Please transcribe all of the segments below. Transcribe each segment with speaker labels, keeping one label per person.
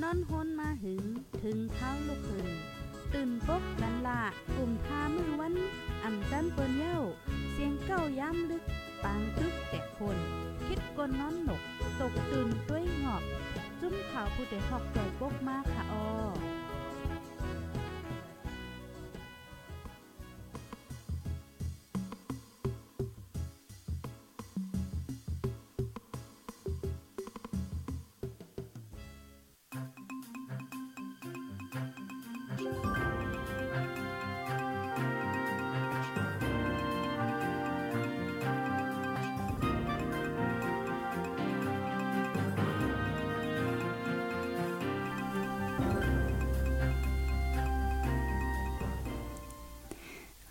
Speaker 1: นอนฮนมาหึง ถึงเท้าลูกหึงตื่นปุ๊บลันละกลุ่มทามือวัน อ่ำจันเปิ้นเย้า เสียงเก้าย้ำลึก ปางตึกแต่คน คิดกนน้อนหนก ตกตื่นด้วยหงอบ จุ้มข่าวผู้เดหอกใจปกมากค่ะออ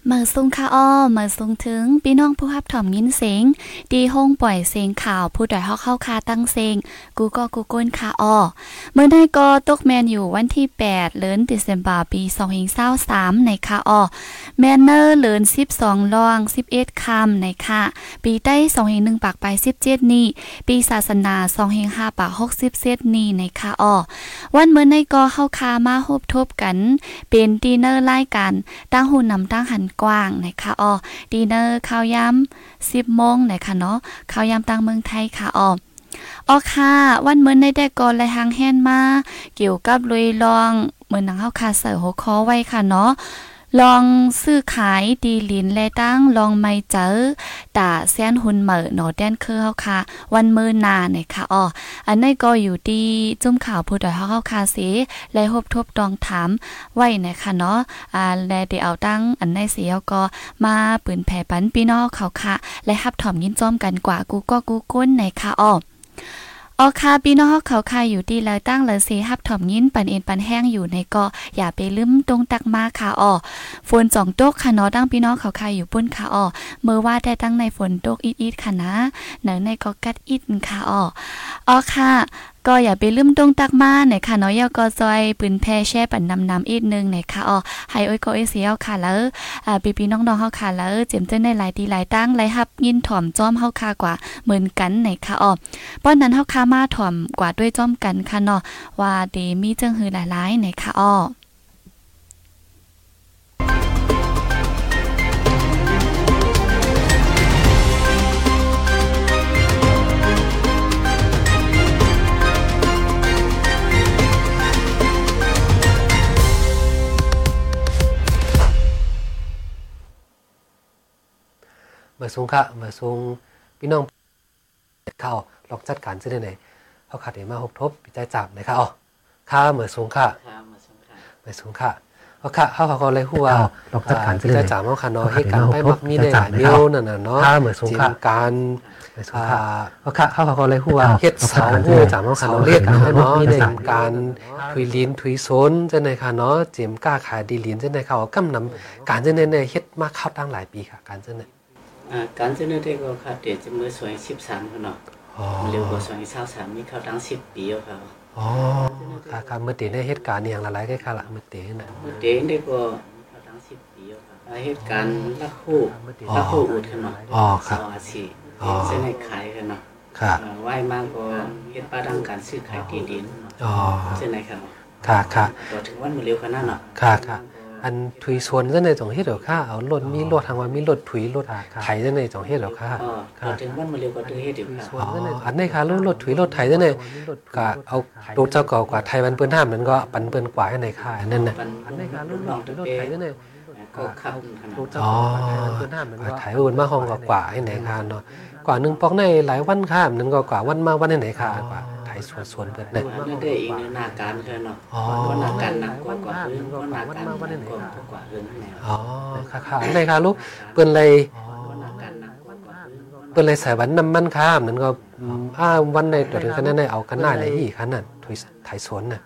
Speaker 2: เมื่อซุงค่ะอ้อเมื่อซุงถึงพี่น้องผู้ฮับถ่อมยินเสียงดีห้องปล่อยเสียงข่าวผู้ด่อยฮอกเข้าคาตั้งเสียงกูก็กูโก้นค่ะอ้อเมื่อได้ก็ตกแมนอยู่วันที่ 8เดือนตุลาคมปี2023ในค่ะอ้อแมนเนอร์เดือน12ลอง11ค่ำในค่ะปีใต้201ปากไป17นี้ปีศาสนา205ปาก67นี้ในค่ะอ้อวันเมื่อในก็เข้าคามาฮบทบกัน เป็นดีเนอร์ไล่กันตั้งหุ่นนำตั้งหันกว้างนะคะอ๋อดีเนอร์ข้าวยำ10โมงนะคะเนาะข้าวยำตั้งเมืองไทยค่ะอ๋ออ๋อค่ะ วันเมื่อในได้ก่อนไลหังแฮนมา เกี่ยวกับลุยลองเหมือนหนังเข้าคาเสิร์หัวข้อไว้ค่ะเนาะลองซื้อขายดีลินและตั้งลองไม่เจอตาแซนหุ่นเหมอหนอแดนคือเฮาค่ะ วันมือหนาเนี่ยค่ะอ๋ออันนี้ก็อยู่ดีจุ่มข่าวผู้ดอยเฮาเฮาค่ะเสและหบทบดองถาม ไว้นะคะเนาะ อ่า และเดี๋ยวเอาตั้งอันในเสียวก็มาปืนแผ่ปันพี่น้องเขาค่ะ และฮับถอมยินจ้อมกันกว่ากูก็กูก้นในค่ะอ้อออค่ะพี่น้องเขาค่ะอยู่ดีเลยตั้งเลยสีฮับถอมยินปันเอ็นปันแห้งอยู่ในก็อย่าไปลืมตรงตักมาค่ะอ้อฝนจ่องโต๊กค่ะเนาะตั้งพี่น้องเขาค่ะอยู่ปุ้นค่ะอ้อเมื่อว่าได้ตั้งในฝนโต๊กอีดอีดค่ะนะหนังในก็กัดอิดค่ะอ้ออ้อค่ะ ก็อย่าไปลืมตรงตักมาหน่อยค่ะเนาะอยาก็ซอยปืนแพร่แช่ปั่นนำน้ำอีกนึงหน่อยค่ะอ๋อให้โอ้ยก็เอยเสียวค่ะแล้วอ่าปีปีน้องๆเฮาค่ะแล้วเจยมเจ้นในหลายตีหลายตั้งหลายฮับยินถ่อมจ้อมเฮาค่ะกว่าเหมือนกันหน่อยค่ะอ๋อป้อนนั้นเฮาค่ะมาถ่อมกว่าด้วยจ้อมกันค่ะเนาะว่าเดมีเจังหือหลายๆหน่อยค่ะอ๋อ
Speaker 3: มาสูงค่ะมาสูงพี่น้องเข้าลองจัดการซื้อได้ไหนเขาขาดเดมาหกทบปีใจจับนะคะอ๋อค่ะมาสูงค่ะ
Speaker 4: ค่ะมาสงค่ะ
Speaker 3: มาสูงค่ะเอาค่ะเข้าขากรเลยหัว
Speaker 5: เอาลองจัดการซื้อได้ไหน
Speaker 3: ใจจับเอาค่ะเนาะให้การไปมักมีได้หลายเดียวนั่นน่ะเนาะ
Speaker 5: ค่ะมาสูงค่ะ
Speaker 3: จิมการ
Speaker 5: ไม่สุ
Speaker 3: อ่า
Speaker 5: ภาพ
Speaker 3: เอาค่ะเข้าขากรเลยหัว
Speaker 5: เอา
Speaker 3: เฮ็ดเสา
Speaker 5: เอา
Speaker 3: หัวจับเอาค่ะเนาะเรียกกันให้เนาะ
Speaker 5: เอา
Speaker 3: ได้
Speaker 5: เอา
Speaker 3: การถุยลิ้นถุยโซนจังไหนค่ะเนาะเจมกล้าขายดีลิ้นจังไหนค่ะเอากำนํการจังไหนเนี่ยเฮ็ดมาเข้าตั้งหลายปีค่ะ การจังไหน
Speaker 4: อ่าการเสนอเด็กก็ค่ะเดี๋ยวจะมือสวยสิบสามคนเนาะ
Speaker 3: อ๋อ
Speaker 4: เร็วกว่าสวยสาวสามนี่เขาตั้งสิบปีแล้วครับ
Speaker 3: อ๋อค่ะครับเมื่อเตในเหตุการณ์เนี่ยอย่างละลายใกล้ค่ะละเมื่อเตน่ะ
Speaker 4: เมื่อเด็กเด็กก็เขาตั้งสิบปีแล้วครับอ่าเหตุการณ์ลักคู่ลักคู่อุดขนเนาะ
Speaker 3: อ๋อครับ
Speaker 4: สาวอาชีพ
Speaker 3: อ๋อ
Speaker 4: เส้นให้ขายกันเนาะ
Speaker 3: ค่ะ
Speaker 4: อ่าไหวมากก็เฮ็ดป้าดังการซื้อขายที่ดินเนาะ
Speaker 3: อ๋อ
Speaker 4: เส้นไหนครับ
Speaker 3: ค่ะค่ะ
Speaker 4: ก็ถึงวันมือเร็วขนาดเนาะ
Speaker 3: ค่ะค่ะ อันถุยชวนจังในจองเฮ็ดเดี๋ยวค่ะเอารถมีรถทางว่ามีรถถุยรถไถจังในจองเฮ็ดเดี๋ยวค่ะ
Speaker 4: ก็พอถึงวันมือเร็วก็ตื้อเฮ็ดอยู่ค่ะ
Speaker 3: อ๋ออันนี้ค่ะรถรถถุยรถไถจังในก็เอารถเจ้าก่อกว่าไทยมันเปิ้นห้ามนั้นก็ปันเปิ้นกว่าให้ในค่ะอันนั้นน่ะ
Speaker 4: วัน
Speaker 5: อัน
Speaker 4: ลู
Speaker 5: นี้
Speaker 4: ก
Speaker 5: การ
Speaker 4: ลู
Speaker 5: ลู
Speaker 4: ก
Speaker 5: ก
Speaker 4: น้
Speaker 5: น้
Speaker 4: อ
Speaker 5: อง ง
Speaker 4: ตื้
Speaker 5: จะ
Speaker 4: อ
Speaker 5: โดน
Speaker 4: เป๊ะ
Speaker 5: ไถด้ว
Speaker 3: ไถว
Speaker 5: ยเนี่ยอ๋อไถ
Speaker 4: ก็ขับขนาด
Speaker 5: วน น
Speaker 3: มา
Speaker 5: มา
Speaker 3: ห้
Speaker 5: ห้
Speaker 3: อ
Speaker 5: อง ง
Speaker 3: ก็
Speaker 5: ก็
Speaker 3: ก
Speaker 5: ก
Speaker 3: ว่า
Speaker 5: ว่า
Speaker 3: ให้
Speaker 5: ให้
Speaker 3: ไห
Speaker 5: ไห
Speaker 3: น
Speaker 5: น
Speaker 3: ค่ะ
Speaker 5: ค่ะ
Speaker 3: เนาะ
Speaker 5: เนาะ
Speaker 3: กว่าหนึงปอกในหลายวันค่ะนั้นก็กว่าวันมาวันไหนๆค่ะกว่าไถสวนสวนเปิ้น
Speaker 4: นั่
Speaker 3: น่ะ
Speaker 4: นได้อีกหนาการเธอเนาะ
Speaker 3: อ๋อ
Speaker 4: ว่าหนาการหนักกว่ากว่าเรื่องว่าหนาการหนักกว่ากว่าเรื่องแนว
Speaker 3: อ๋อค่ะค่ะอันนี้ค่ะลูกเปิ้นเลย
Speaker 4: ว่าหนาการหนักกว่ากว่าเรื่อง
Speaker 3: เปิ้นเลยใส่วันน้ำมันข้ามนั่นก็อืมอ้าวันในตัวถึงขนาดไหนเอากันหน้าไหนอีกขนาดถุยไถสวนน่ะ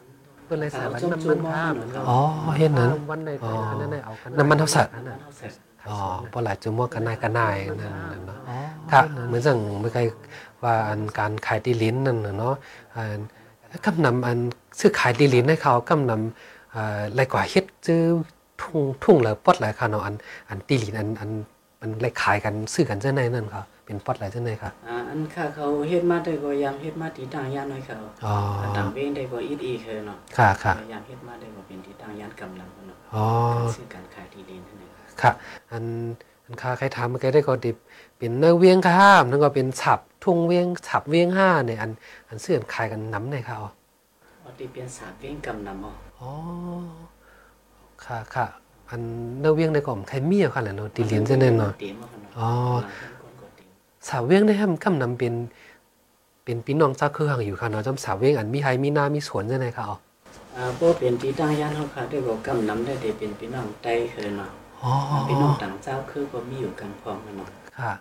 Speaker 5: เปิ้นเลยใส่วันน้ำมันข้าม
Speaker 3: อ๋อเฮ็ดนั้น
Speaker 5: วันใน
Speaker 3: อ๋อ
Speaker 5: ขนาดไหนเอากัน
Speaker 3: น้ำมันเท่าสัตว์
Speaker 4: นั้นเอาเสร็จ
Speaker 3: อ๋อบ่หลายจุมว่ากันนายกันนายนั่นน่ะเนาะค่ะเหมือนสั่งเมื่อไกว่าอันการขายดีลิ้นนั่นน่ะเนาะอันกำนำอันซื้อขายดีลิ้นให้เขากำนำเอ่อหลายกว่าเฮ็ดจื้อทุ่งทุ่งเหลือปอดหลายค่ะเนาะอันอันดีลิ้นอันอัน มันไล่ขายกันซื้อกันเจ้าในนั่นค่ะเป็นปอดไหลเจ้าในค่ะ
Speaker 4: อ่าอันข้าเขาเฮ็ดมาได้ก็ยามเฮ็ดมาตีต่างยานหน่อยเขา
Speaker 3: อ๋อ
Speaker 4: ต่างเว้นได้ก็อีดอีเคยเนาะ
Speaker 3: ค่ะค่ะ
Speaker 4: ยามเฮ็ดมาได้ก็เป็นที่ต่างยานกำลังเนาะ
Speaker 3: อ๋อ
Speaker 4: การซื้อการขายที่ดินนั่นเอง
Speaker 3: ค่ะอันอันค่าใครทำมันก็ได้ก็ดิบเป็นเนื้อเวียงข้ามนั่นก็เป็นฉับทุ่งเวียงฉับเวียงห้าเนี่ยอันอันเสื่อมขายกันน้ำในค่ะอ๋อ
Speaker 4: ออติเปียนสาบเว้งกำนำอ๋อ
Speaker 3: อ๋อค่ะค่ะอันเนื้อเวียงในกล่อมใครเมียค่ะแหละเนาะตีเหรียญเส้นแน่นเนาะ
Speaker 4: เตียมว่าขนาด
Speaker 3: อ๋อ
Speaker 4: ตีม
Speaker 3: สาวเวียงได้ให้มันกำนำเป็นเป็นพี่น้องเจ้าเครือห่างอยู่ค่ะเนาะจำสาวเวียงอันมีไฮมีนามีสวนเส้นไหนค่ะอ๋อ
Speaker 4: อ่าพวกเป็นที่ตั้งย่านเฮาค่ะได้บอกกำนำได้แต่เป็นพี่น้องไต้เคยเนาะ
Speaker 3: อ๋อ
Speaker 4: พี่น้องต่างเจ้าคือก็มีอยู่กันพร้อมกันเนาะ
Speaker 3: ค่ะ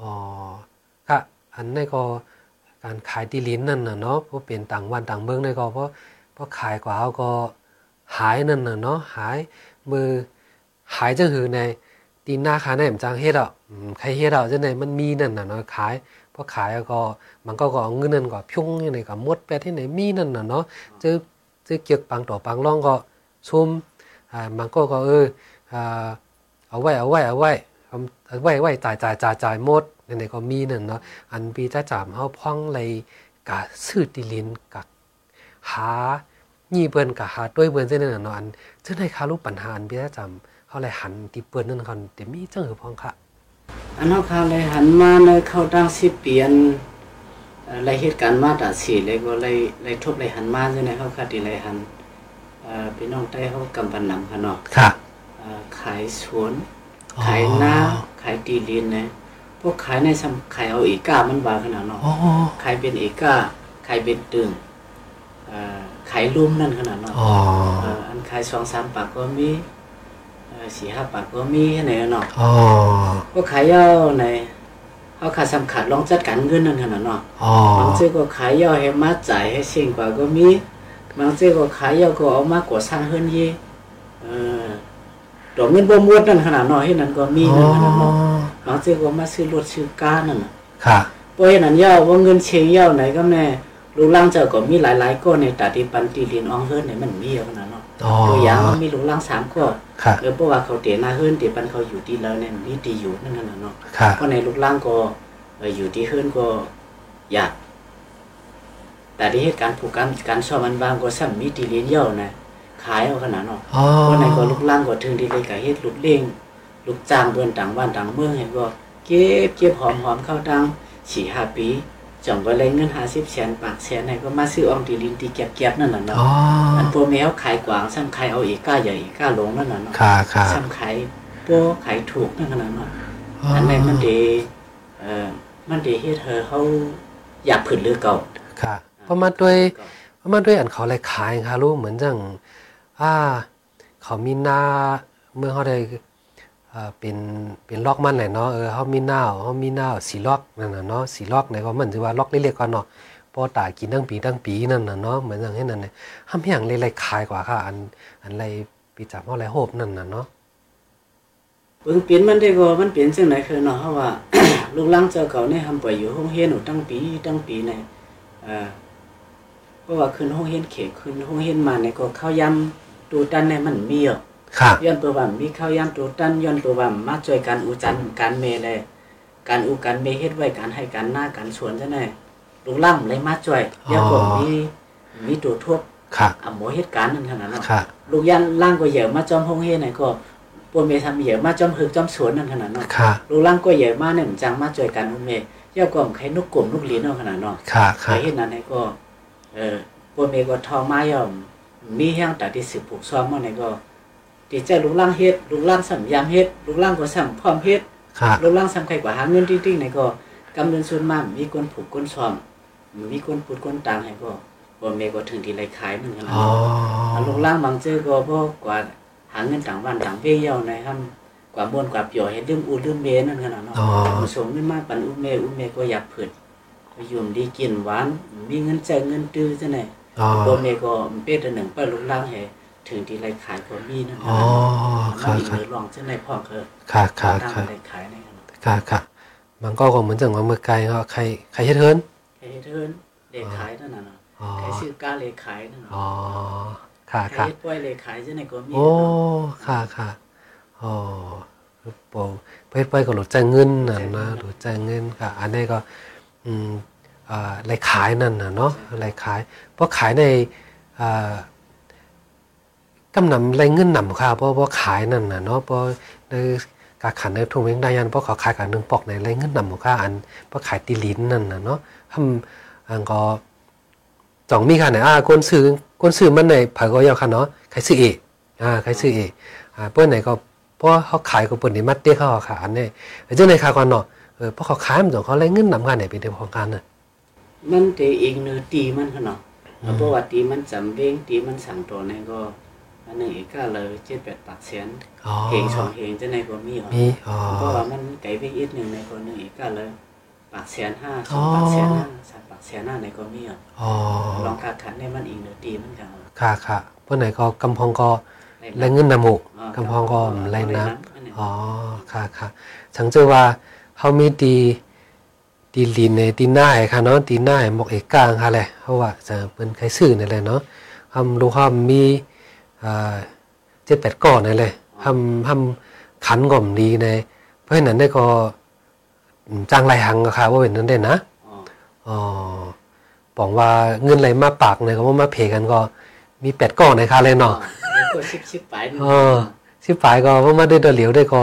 Speaker 3: อ๋อค่ะอันนี้ก็การขายตีลิ้นนั่นน่ะเนาะเพราะเปลี่ยนต่างวันต่างเมืองได้ก็เพราะ พอขายกว่าเขาก็หายนั่นน่ะเนาะหายมือหายจังหือในตีนหน้าขาในผมจังเฮ็ดอ่ะอืมใครเฮ็ดอ่ะจังไหนมันมีนั่นน่ะเนาะขายพอขายแล้วก็มันก็ก็เอาเงินนั่นก็พุ่งอยู่ในก็หมดไปที่ไหนมีนั่นน่ะเนาะเจอเจอเกียกปังต่อปังร่องก็ซุมอ่ามันก็ก็เอออ่าเอาไว้เอาไว้เอาไว้เอาเอาไว้ไว้จ่ายจ่ายจ่ายจ่ายหมดในไหนก็มีนั่นเนาะอันปีจ้าจามเฮาพ่องเลยกะซื้อติลินกะ หายี่เปิ้นกับหาด้วยเปิ้นเส้นนั่นนะเนาะอันเจ้าในคารูปปัญหาอันพี่จำเขาเลยหันตีเปิ้นนั่นเขาเดี๋ยวมีเจ้าหือพองค่ะ
Speaker 4: อันเฮาค่ะเลยหันมาเลยเข้าตั้งสิเปลี่ยนเอ่อเลยเหตุการณ์มาตราสีเลยก็เลยเลยทบเลยหันมาจังได๋เฮาค่ะที่เลยหันเอ่อพี่น้องไต้เฮากำปันนำค่ะเนาะ
Speaker 3: ค่ะ
Speaker 4: เอ่อขายสวนขายนาขายตีดินนะพวกขายในสำขายเอาเอีก้ามันบางขนาดเนาะ
Speaker 3: อ๋อ
Speaker 4: ขายเป็นเอีก้าขายเป็นตึงเอ่อขายลุ่มนั่นขนาดเนาะ
Speaker 3: อ๋อ
Speaker 4: เอ่ออันขายสองสามปากก็มีเอ่อสี่ห้าปากก็มีไหนเนาะ
Speaker 3: อ๋อ
Speaker 4: พวกขายย่าในเขาขาดสำคัญลองจัดการเงินนั่นขนาดเนาะ
Speaker 3: อ๋อบ
Speaker 4: างเจ้าก็ขายย่าให้มาจ่ายให้เสี่ยงกว่าก็มีบางเจ้าก็ขายย่าก็เอามากกว่าสร้างเฮือนเยี่เอ่อดอกเงินบ่มวดนั่นขนาดเนาะเฮ็ดนั่นก็มีนั่นขนาดเนาะ หลังจากว่ามาซื้อรถซื้อก้านั่นน่ะ
Speaker 3: ค่ะ
Speaker 4: เพราะเห็นนั้นย่าว่าเงินเชงย่าไหนก็แม่ลูกหล่างเจ้าก็มีหลายๆก้อนในตาที่ปันตีเรียนอองเฮิร์นเนี่ยมันมีเยอะขนาดเนาะ
Speaker 3: อ๋อ
Speaker 4: ตัวอย่างมันมีลูกหล่างสามก้อน
Speaker 3: ค่ะ
Speaker 4: เออเพราะว่าเขาเตะหน้าเฮิร์นเตะปันเขาอยู่ที่แล้วเนี่ยมันมีดีอยู่นั่นขนาดเนาะ
Speaker 3: ค่ะ
Speaker 4: เพราะในลูกหล่างก็เอ่ออยู่ที่เฮิร์นก็อยาก แต่ที่เหตุการณ์ผูกการการชอบมันบางก็ซ้ำมีตีเรียนย่านะขายเอาขนาดเนาะ
Speaker 3: อ๋อ
Speaker 4: เพราะในก็ลูกล่างก็ถึงที่เลยก็เฮ็ดลูกเลี้ยงลูกจ้างเพิ่นต่างบ้านต่างเมืองเห็นบ่เก็บเก็บหอมหอมเข้าตังสี่ห้าปีจำไว้เลยเงิน50แสนปากแสนให้ก็มาซื้อออมที่ดินที่เก็บๆนั่นน่ะเนาะ
Speaker 3: อ๋อ
Speaker 4: อันพวกแมวขายกวางซ้ํขายเอาอีกก้าใหญ่อีกก้าหลงนั่นน่ะเนาะ
Speaker 3: ค่ะ ค่ะ
Speaker 4: ซ้ํขายโป้ขายถูกนั่นน่ะเนาะอันไหนมันดีเอ่อมันดีเฮ็ดให้เฮาอยากผืนหรือเก่า
Speaker 3: ค่ะ ประมาณด้วย ว่ามันด้วยอันเขาอะไรขายค่ะลูกเหมือนจังอ่าเขามีหน้าเมื่อเขาได้เอ่อเป็นเป็นล็อกมันแหละเนาะเออเขามีหน้าเขามีหน้าสีล็อกนั่นน่ะเนาะสีล็อกไหนก็เหมือนจะว่าล็อกเล็กๆก่อนเนาะพอตายกินตั้งปีตั้งปีนั่นน่ะเนาะเหมือนอย่างให้นั่นเนี่ยห้ามอย่างเลยๆขายกว่าค่ะ อันอันไรปีจับเขาอะไรโหบนั่นน่ะเนาะ
Speaker 4: เบิ่งเป็นมันได้ก็มันเป็นจังไดคือเนาะเฮาว่า ลูกหล่างเจ้าเก่าเนี่ยทำไปอยู่ห้องเฮียนอยู่ตั้งปีตั้งปีในเอ่อเพราะว่าขึ้นห้องเฮียนเขตขึ้นห้องเฮียนมาในยก็เข้ายำตูตันในยมันมีอ่ะ
Speaker 3: ค่ะ
Speaker 4: ย้อนตัวว่ามีเข้ายำตูตันย้อนตัวว่ามาช่วยกันอุจันการเมเลย การอุการเมเฮ็ดไว้การให้การหน้าการสวนจังไดลูกหล่างเลยมาช่วยแล้วก็มีมีตัวทวบ
Speaker 3: ค่ะ
Speaker 4: อำหมอเฮ็ดการนั่นขนาดนั้นเนาะ
Speaker 3: ค่ะ
Speaker 4: ลูกย่านล่างก็เหย่อมาจอมห้องเฮไหนก็ปวนเมทำเหย่อมาจอมหึกจอมสวนนั่นขนาดเนาะ
Speaker 3: ค่ะ
Speaker 4: ลูกล่างก็เหย่อมาเนี่ยมันจังมาจ่วยกันอุ้มเมเย่ากล่อมใครนุกกลุ่มนุกหลีนเอาขนาดเนาะ
Speaker 3: ค่ะ
Speaker 4: ใคร
Speaker 3: ค่ะ
Speaker 4: เห็นนั้นไหนก็เออปวนเมก็ทองมาย่อมมีแห้งแต่ที่สืบผูกซ้อมมาไหนก็ตีใจลูกล่างเฮ็ดลูกล่างสัมยามเฮ็ดลูกล่างก็สัมพร้อมเฮ็ด
Speaker 3: ค่ะ
Speaker 4: ลูกล่างสัมใครกว่าหาเงินติ้งๆไหนก็กำเนินส่วนมากมีคนผูกคนซ้อมมีคนปูดคนต่างไหนก็ปวนเมก็ถึงที่ไรขายมันขนาด
Speaker 3: อ๋อ
Speaker 4: เนาะ อันลงล่างบางเจ้าก็พวกกว่าหาเงินต่างวันต่างเบี้ยเยาในครับกว่าบวนกว่าเปียวเห็นเรื่องอูเรื่องเมนั่นขนาดเนาะ
Speaker 3: อ๋อ
Speaker 4: ผสมเงินมากปันอูเมอูเมก็อยากผืดก็ยุ่มดีกินหวานมีเงินใจายเงินตื้อจะไหน
Speaker 3: อ๋อ
Speaker 4: โบเมก็เป็ดอันหนึ่งไปลงล่างให้ถึงที่ไรขายก็มีนั่น
Speaker 3: อ๋อ
Speaker 4: ค่ะ
Speaker 3: ค่ะ
Speaker 4: อีก
Speaker 3: ค่ะ
Speaker 4: เนื้อรองจะไหนพ่อเคย
Speaker 3: ค่ะค่ะ
Speaker 4: ตั้ง
Speaker 3: ค่ะ
Speaker 4: ไรขายในขนาด
Speaker 3: ค่ะค่ะมันก็คงเหมือนจังว่าเมื่อไกลก็ใครใครเฮ็ดเฮิรน
Speaker 4: ไอ้เทิร์นเลขขายนั่นน่ะเนาะ
Speaker 3: อ๋อ
Speaker 4: ใครซื้อกล้าเลขขายนั่นน่ะ
Speaker 3: อ๋อ ค่ะ
Speaker 4: ใคร
Speaker 3: ค่ะ
Speaker 4: เฮ็ดป้อยเลขขายจะไหนก็มี
Speaker 3: โอ้
Speaker 4: เนาะ
Speaker 3: ค่ะค่ะอ๋อ เอ โปเพื่อเพื่อก็หลุดใจเงินนั่นนะหลุดใจเงินค่ะ อันนี้ก็อืมอ่ารายขายนั่นนะเนาะรายขาย เพราะขายในอ่ากำนำรายเงินนำค่ะเพราะเพราะขายนั่นนะเนาะเพราะในกาขันในทุ่งเวียงได้ยันเพราะเขาขายกับหนึ่งปอกในรายเงินนำของค่ะอันเพราะขายตีลิ้นนั่นนะเนาะทำอันก็จ่องมีค่ะไหนอ่าคนซื้อคนซื้อมันในเผาก็ยาวค่ะเนาะใครซื้อเอกอ่าใครซื้อเอก อ่าเปิ้นไหนก็เพราะเขาขายกับเปิ้นนี่มัดเตี้ยเขาขายอันนี่เจ้าไหนขายก่อนเนาะเออเพราะเขาขายมันส่งเขาไรเงินนำกันเนี่ยเป็นเรื่องของการน่ะ
Speaker 4: มันเตเองเนื้อตีมันขนาด
Speaker 3: อืม
Speaker 4: เพราะว่าตีมันจำเวงตีมันสั่งตัวในก็อันหนึ่งเอกก็เลยเจ็ดแปดปากเสียน
Speaker 3: อ๋อ
Speaker 4: เฮงสองเฮงจะในก็มีหรอ
Speaker 3: มีอ๋อ
Speaker 4: เพราะว่ามันไก่เวงอีกหนึ่งในก็หนึ่งเอกก็เลยปากเสียนห้าส
Speaker 3: อ๋
Speaker 4: อ
Speaker 3: อ
Speaker 4: งปากเสียนห้าสามปากเสียนห้าในก็มีหรอ
Speaker 3: อ๋อ
Speaker 4: ลองขาดขันในมันเองเนื้อตีมันกัน
Speaker 3: ค่ะค่ะเปิ้นไหนก็กำพองก็ไรเงินนำหมู่กำพองก็ไรน้ำ อ๋อ ค่ะค่ะฉันเจอว่าเขามีดีดีลินในดีหน้าไอ้ค่ะเนาะดีหน้าไอ้หมอกเอกกลางค่ะแหละเพราะว่าจะเป็นใครซื้อนี่นแหละเนาะทำรู้ความมีเจ็ดแปดก้อนนี่นแหละทำทำขันก่อมดีใน เพราะฉะนั้นได้ก็อืมจ้างไรหังก็ค่ะว่าเป็นนั้นได้นะ
Speaker 4: อ๋อ
Speaker 3: อ๋อบอกว่าเงินไหลมาปากเนี่ยก็ว่ามาเพกันก็มีแปดก้อนในค่ะเลย
Speaker 4: อ๋อ
Speaker 3: เนาะ
Speaker 4: แล้วก็ชิบชิบไปหนึ่ง
Speaker 3: เออ สิปลายก็ว่ามาได้ตัวเหลียวได้ก็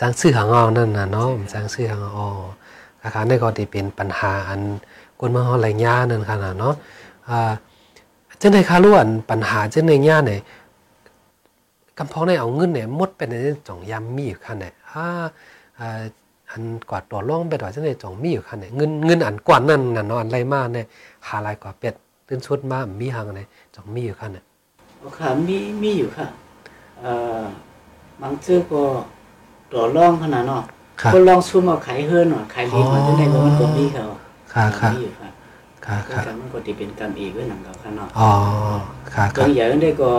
Speaker 3: จังซื้อหางเอานั่นน่ะเนาะจังซื้อหางเอาอาคารได้ก็ที่เป็นปัญหาอันคนมาเฮาไหลายย่านั่นค่ะน่ะเนาะอ่าจังได๋คะล้วนปัญหาจังได๋ย่าเนี่ยกำพองได้เอาเงินเนี่ยหมดไปในจ่องยามมีอยู่ค่ะเนี่ยอ่าอ่าอันกวาดตัวล่องไปดว่าจังได๋จ่องมีอยู่ค่ะเนี่ยเงินเงินอันกว่านั่นน่ะเนาะอันไหลมาเนี่ยหาหลายกว่าเป็ดตื่นชุดมามีหางเนี่ยจ่องมีอยู่ค่ะเนี่ย
Speaker 4: อ๋อค่ะมีมีอยู่ค่ะเอ่อบางเจ้าก็ตัวร่องขนาดเนาะ
Speaker 3: ครับ
Speaker 4: คนลองซุ่มเอาไข่เฮือนเนาะไข่ลีนมา
Speaker 3: อ๋อ
Speaker 4: ตั้งแต่ก็มันก็มีเขามีอยู่ค่ะ
Speaker 3: ค่ะ
Speaker 4: ก็
Speaker 3: ค่ะ
Speaker 4: การมันก็ติเป็นกรรมอีกเว้ยหนังเขาค่ะเนาะ
Speaker 3: อ๋อค่ะ
Speaker 4: ก็
Speaker 3: ค่ะ
Speaker 4: อย่างนั้นได้ก็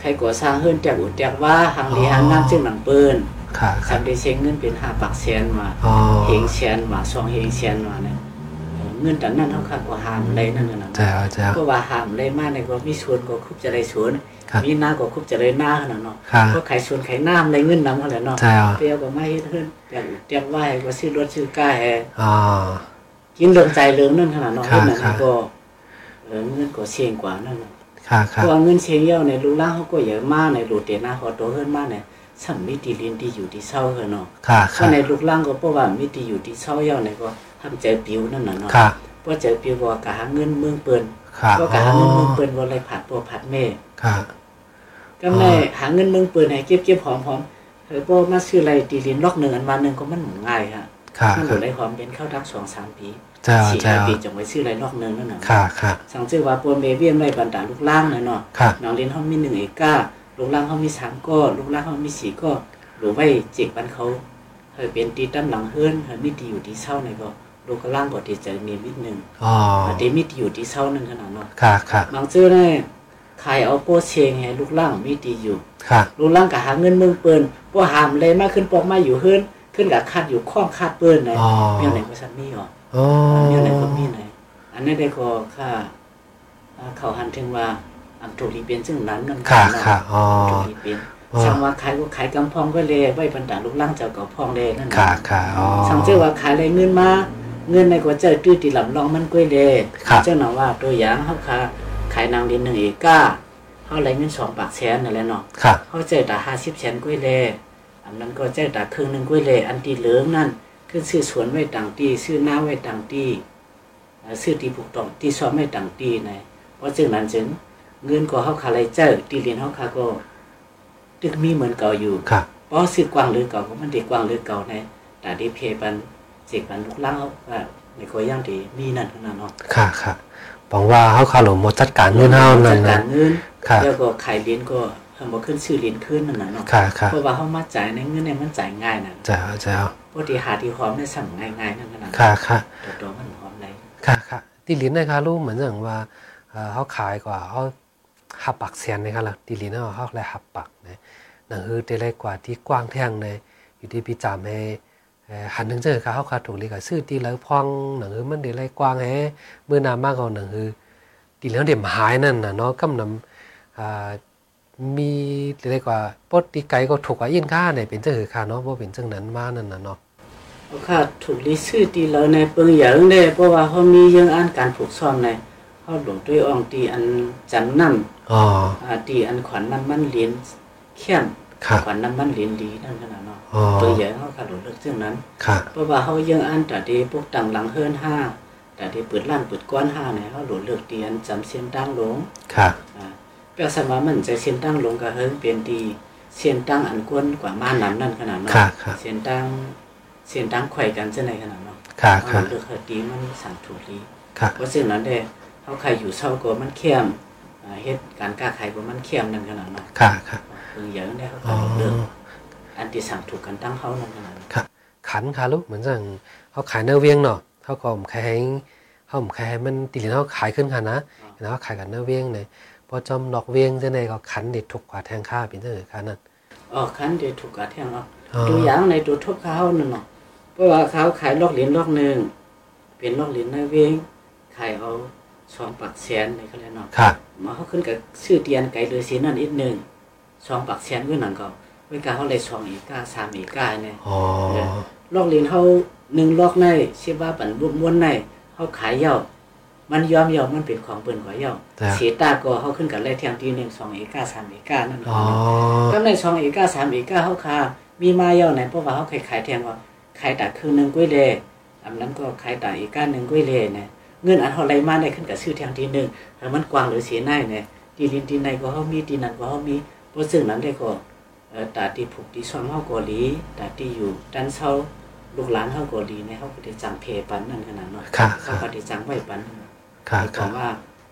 Speaker 4: ใครก่อสร้างเฮือนแจกอุดแจกว่าหางเหลียหางน้ำเจ้าหนังเปิ้น
Speaker 3: ค่ะครั
Speaker 4: สา
Speaker 3: บ
Speaker 4: มได้เชงเงินเป็นห้าปากแสนมา
Speaker 3: อ๋อ
Speaker 4: เฮงแสนมาสองเฮงแสนมาเนี่ยเอ่อเงินแต่นั้นเขาค่ะก็หามไรนั่นน่ะนะ
Speaker 3: เจ้าเจ้า
Speaker 4: ก็ว่าหามได้มากในก็มีสวนก็คุบเจะได้สวน
Speaker 3: ครับ
Speaker 4: มีหน้าก็คุบเจะได้หน้าขนาดเนาะ
Speaker 3: ครับ
Speaker 4: ก็ขายสวนขายน้ำอะไรเงินน้ำอะไรเนาะ
Speaker 3: ใช่อ่ะ
Speaker 4: เปรี้ยวก็ไม่เฮ็ดเฮ็ดแต่อุดเตรียมไหว้ก็ซื้อรถซื้อกาแฮ
Speaker 3: อ๋อ
Speaker 4: กินเรื่องใจเรื่องนั่นขนาดเนาะ
Speaker 3: ครับ
Speaker 4: เฮ็ดนั่น
Speaker 3: ครับ
Speaker 4: ก็เออเงินก็เสี่ยงกว่านั่นเนาะ
Speaker 3: ค่ะ
Speaker 4: เพ
Speaker 3: ค่ะ
Speaker 4: ราะว่าเงินเสี่ยงเยาในลูกหล่างเขาก็เยอะมากในลูกเตหน้าเขาโตเฮ็ดมากเนี่ยสัมมิติลินที่อยู่ที่เศร้าเฮ็ดเนาะ
Speaker 3: ค่ะ
Speaker 4: เพ
Speaker 3: ค่ะ
Speaker 4: ราะในลูกหล่างก็เพราะว่ามิติอยู่ที่เศร้าเยาในก็ทำใจปิวนั่นน่ะเนาะ
Speaker 3: ค่ะ
Speaker 4: เพราะใจปิวว่าก็หาเงินเมืองเปิ้น
Speaker 3: ค่ะ
Speaker 4: ก็
Speaker 3: อ๋
Speaker 4: กา
Speaker 3: อ
Speaker 4: หาเงินเมืองปืนวันไรผัดตัวผัดแม่
Speaker 3: ค่ะ
Speaker 4: ก็แม่
Speaker 3: อ๋อ
Speaker 4: หาเงินเมืองปืนให้เก็บเก็บหอมหอมเฮ้ยพ่อมาซื้ออะไรตีลินลอกหนึ่งอันวันหนึ่งก็มันหมุนง่ายฮะ
Speaker 3: ค่ะ
Speaker 4: มันห
Speaker 3: ค่ะ
Speaker 4: มุนไรหอมเป็นข้าวทักสองสามปี
Speaker 3: เจ้า
Speaker 4: สี่
Speaker 3: เจ้า
Speaker 4: ห้าปีจังไว้ซื้ออะไรลอกหนึ่งนั่นน่ะ
Speaker 3: ค่ะค่ะ
Speaker 4: สั่งซื้อว่าปนเบเบี้ยมไรบรรดาลูกล่างเลยเนาะ
Speaker 3: ค่ะ
Speaker 4: น้องเรียนห้องมีหนึ่งเอกก้าลูกล่างห้องมีสามก้อลูกล่างห้องมีสี่ก้อหรือไว้เจ็กบันเขาเฮ้ยเป็นตีตั้มหลังเฮือนเฮ้ยมีตีอยู่ที่เศร้าในก็ลูกกระล่างก็ตีใจมีมิดหนึ่ง
Speaker 3: อ๋อ
Speaker 4: เดมิดอยู่ที่เศร้าหนึ่งขนาดเนาะ
Speaker 3: ค่ะค่ะ
Speaker 4: บางเจ้าเนี่ยขายเอาโปเชงให้ลูกหล่างมีดีอยู่
Speaker 3: ค่ะ
Speaker 4: ลูกหล่างก็หาเงินเมืองเปิ้นบ่หามเลยมากขึ้นปอกมาอยู่เฮือนขึ้นกับคาดอยู่ข้องคาดเปิ้นนะ
Speaker 3: อ๋อ
Speaker 4: เมียไหนก็ซันมีหรอ
Speaker 3: อ๋อ
Speaker 4: เมียไหนก็มีไหนอันนี้ได้ก็ค่าอ่าเขาหันถึงว่าอันถูกดีเป็นซึ่งนั้นนั่น
Speaker 3: ค่ะค่ะอ๋อ
Speaker 4: ถูกดีเป็น
Speaker 3: อ๋อ
Speaker 4: สั่งว่าขายก็ขายกำพองก็เลยไว้บรรดาลูกหล่างเจ้าเก่าพองเลยนั่นน่ะ
Speaker 3: ค่ะค่ะอ๋อ
Speaker 4: สั่งเจ้าว่าขายอะไรเงินมาเงินในก็เจ้าตื้อตีหลังรองมันกล้วยเลย
Speaker 3: ครับ
Speaker 4: เจ้าหน่าว่าตัวอย่างเขาขาขายนางดินหนึ่งเอก้าเขาไรเงินสองปากแสนนั่นแหละเนาะ
Speaker 3: ค่ะ
Speaker 4: เขาเจอแต่ห้าสิบแสนกุ้วยเล่อันนั้นก็เจอแต่ครึ่งหนึ่งกุ้วยเล่อันตีเหลืองนั่นขึ้นซื้อสวนไว้ต่างตีซื้อหน้าไว้ต่างตีเอ่อซื้อตีผูกตองตีซ้อมไว้ต่างตีนะเพราะจึงนั้นจึงเงินก็เขาขาไรเจ้าตีเรียนเขาขาก็ตึกมีเหมือนเก่าอยู่
Speaker 3: ค่ะ
Speaker 4: เพราะซื้อกวางหรือเก่าก็มันดีกวางหรือเก่าในแต่ดีเพปันเจกปันลูกเล่าว่าในโคย่างดีมีนั่นขนาดเนาะ
Speaker 3: ค่ะค่ะบอกว่าเขาขาหลงหมดจัดการเงินเฮานั่น
Speaker 4: จัดกา
Speaker 3: นะ
Speaker 4: รเงิน
Speaker 3: ค่ะ
Speaker 4: แล้วก็ขายเหรียญก็เพิ่มบ่ขึ้นชื่อเหรียญขึ้นนั่นน่ะเนาะ
Speaker 3: ค่ะค่ะ
Speaker 4: เพราะว่าเฮามาจ่ายในเงินเนี่ยมันจ่ายง่ายน่ะ
Speaker 3: เจ้าเจ้า
Speaker 4: ปกติหาที่หอมได้สั่งง่ายๆนั่นน่ะ
Speaker 3: ค่ะค่ะ
Speaker 4: แต่ตัวมันหอมได้
Speaker 3: ค่ะค่ะตีลินนะคะลูกเหมือนอย่างว่าเอ่อเขาขายกว่าเขาหับปักเซียนนะคะล่ะตีลินเขาเขาเลยหับปักนะหนังฮือได้ไรกว่าที่กว้างแท่งในอยู่ที่พิจามให้เอ่อหันถึงเจอค่ะเขาขาดถูกเลยกับซื้อตีแล้วพองหนังฮือมันได้ไรกว้างแฮเมื่อนามากเอาหนังฮือตีแล้วเด็มหายนั่นน่ะเนาะกำนำอ่า มีอะไรกว่าปดตีไก่ก็ถูกกว่าอินค่าเนี่ยเป็นเจ้าหือค่าเนาะว่าเป็นเจ้านั้นมานั่นน่ะเนาะ
Speaker 4: เอาค่ะถูกลิซื่อตีเราในเปิงอย่าเอิ้งได้เพราะว่าเขามีเรื่องอ่านการผูกซ่อมในเขาหลงด้วยอ่องตีอันจังนั่น
Speaker 3: อ๋อ
Speaker 4: อาตีอันขวัญน้ำมันเหรียญเขี้ยน
Speaker 3: ค่ะ
Speaker 4: ขวัญน้ำมันเหรียญดีนั่นขนาดเนาะ
Speaker 3: อ๋อ
Speaker 4: เปิงอย่าเขาค่ะหลงเลือกเรื่องนั้น
Speaker 3: ค่ะ
Speaker 4: เพราะว่าเขายังอ่านแต่ที่พวกต่างหลังเฮิรนห้าแต่ที่เปิดร้านเปิดก้อนห้าเนี่ยเขาหลงเลือกตีอันจำเสียงตั้งหลง
Speaker 3: ค่ะ
Speaker 4: อ่าเปรียบเสมอเหมือนใจเสียนตั้งลงกระเฮิงเป็นดีเสียนตั้งอันกวนกว่าม่านน้ำนั่นขนาดเนาะ
Speaker 3: ค่ะค่ะ
Speaker 4: เสียนตั้งเสียนตั้งไข่กันเช่นไรขนาดเนาะ
Speaker 3: ค่ะ
Speaker 4: เอา
Speaker 3: ค่ะ
Speaker 4: เลือกเฮดดีมันสั่งถูกดี
Speaker 3: ค่ะ
Speaker 4: เพราะเช่นนั้นเด้เขาใครอยู่เศร้าก็มันเข้มอ่าเฮ็ดการกล้าขายก็มันเข้มนั่นขนาดเนาะ
Speaker 3: ค่ะค่ะ
Speaker 4: เพิ่งอย่างได้เขา
Speaker 3: อ๋
Speaker 4: ก็เลือก
Speaker 3: อ
Speaker 4: อันที่สั่งถูกกันตั้งเขานั่นขนาดเนาะ
Speaker 3: ขันค่ะลูกเหมือนสั่งเขาขายเนื้อเวียงเนาะเขาก็ผมขายให้เขาผมขายให้มันตีเหรียญเขาขายขึ้นค่ะนะแล้วเขาขายกันเนื้อเวียงเลยพอจอมดอกเวียงเจะในก็ขันเด็ดถูกกว่าแทงค่าเป็นเท่าไหร่ค่ะนั่น
Speaker 4: อ๋อคันเดียวถูกกระแทงเนาะ
Speaker 3: อ๋อ
Speaker 4: ดูอย่างในตัวทบเขานั่นเนาะเพราะว่าเขาขายลอกเหรียญลอกหนึ่งเป็นลอกเหรียญหน้าเวงขายเอาสองปักแสนในเขาเลยเนาะ
Speaker 3: ค่ะ
Speaker 4: มาเขาขึ้นกับชื่อเตียนไก่เลยสีนั่นอีกหนึ่งสองปักแสนก็หนังเก่าเวลาเขาเลยสองอีกาสามอีกาเนี่ย
Speaker 3: อ๋อ
Speaker 4: ลอกเหรียญเขาหนึ่งลอกในเชื่อว่าปันบุบม้วนในเขาขายเหย้ามันยอมเหย้ามันเป็นของเปิ้นกว่าเหย้า
Speaker 3: แต่
Speaker 4: เสียตาก็เขาขึ้นกับไล่แทงทีหนึ่งสองอีกาสามอีกานั่น
Speaker 3: อ๋อ
Speaker 4: เนาะ ก็ในช่องเอกาสามเอกาเขาคามีมาเยาในเพราะว่าเขาเคยขายแทงว่าขายตาครึ่งหนึ่งกุ้ยเลอันนั้นก็ขายตาเอกาหนึ่งกุ้ยเลเนี่ยเงินอันเท่าไรมาได้ขึ้นกับชื่อแทงทีหนึ่งถ้ามันกว้างหรือเสียหน้าเนี่ยตีลินตีในก็เขามีตีนันก็เขามีเพราะซึ่งนั้นได้ก็เอ่อตาตีผูกตีซ้อมเขาเกาหลีตาตีอยู่ด้านเช่าลูกหลานเขาเกาหลีเนี่ยเขาก็ได้จังเพปันนั่นขนาดเนาะ
Speaker 3: ค่ะ
Speaker 4: เขา
Speaker 3: ค่ะ
Speaker 4: ก็ได้จังไว้ปันนั่นน่ะ
Speaker 3: ค่ะ
Speaker 4: หมายควา
Speaker 3: ค่ะ
Speaker 4: มว่า